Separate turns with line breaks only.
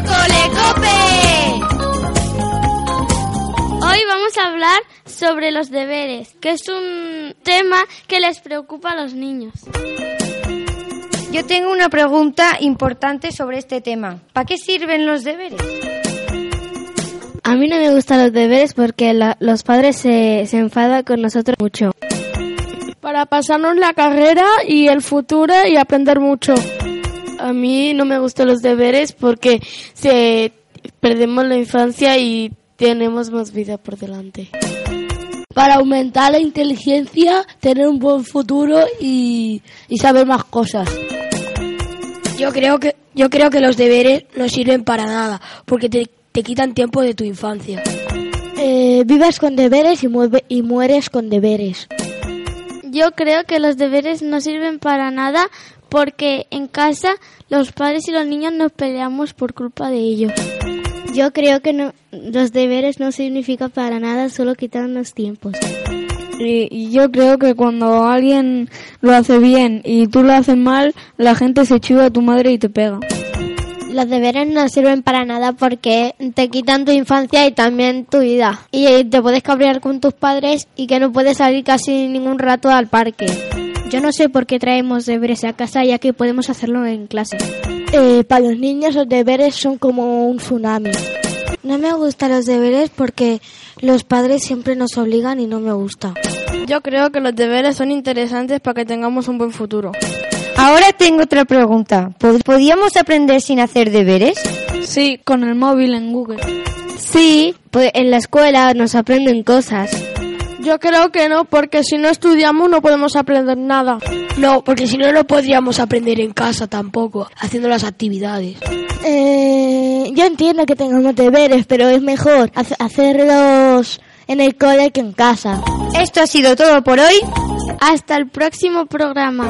Cole Cope!
Hoy vamos a hablar sobre los deberes, que es un tema que les preocupa a los niños.
Yo tengo una pregunta importante sobre este tema. ¿Para qué sirven los deberes?
A mí no me gustan los deberes porque la, los padres se, se enfadan con nosotros mucho.
Para pasarnos la carrera y el futuro y aprender mucho
a mí no me gustan los deberes porque se perdemos la infancia y tenemos más vida por delante.
Para aumentar la inteligencia, tener un buen futuro y, y, saber más cosas.
Yo creo que yo creo que los deberes no sirven para nada porque te, te quitan tiempo de tu infancia.
Eh, vivas con deberes y, mueve, y mueres con deberes.
Yo creo que los deberes no sirven para nada porque en casa los padres y los niños nos peleamos por culpa de ellos.
Yo creo que no, los deberes no significan para nada, solo quitan los tiempos.
Y, y, yo creo que cuando alguien lo hace bien y tú lo haces mal, la gente se chiva a tu madre y te pega.
Los deberes no sirven para nada porque te quitan tu infancia y también tu vida. Y te puedes cabrear con tus padres y que no puedes salir casi ningún rato al parque.
Yo no sé por qué traemos deberes a casa ya que podemos hacerlo en clase.
Eh, para los niños los deberes son como un tsunami.
No me gustan los deberes porque los padres siempre nos obligan y no me gusta.
Yo creo que los deberes son interesantes para que tengamos un buen futuro.
Ahora tengo otra pregunta. ¿Podíamos aprender sin hacer deberes?
Sí, con el móvil en Google.
Sí, pues en la escuela nos aprenden cosas.
Yo creo que no, porque si no estudiamos no podemos aprender nada.
No, porque si no, no podríamos aprender en casa tampoco, haciendo las actividades.
Eh, yo entiendo que tengamos deberes, pero es mejor hace hacerlos en el cole que en casa.
Esto ha sido todo por hoy.
Hasta el próximo programa.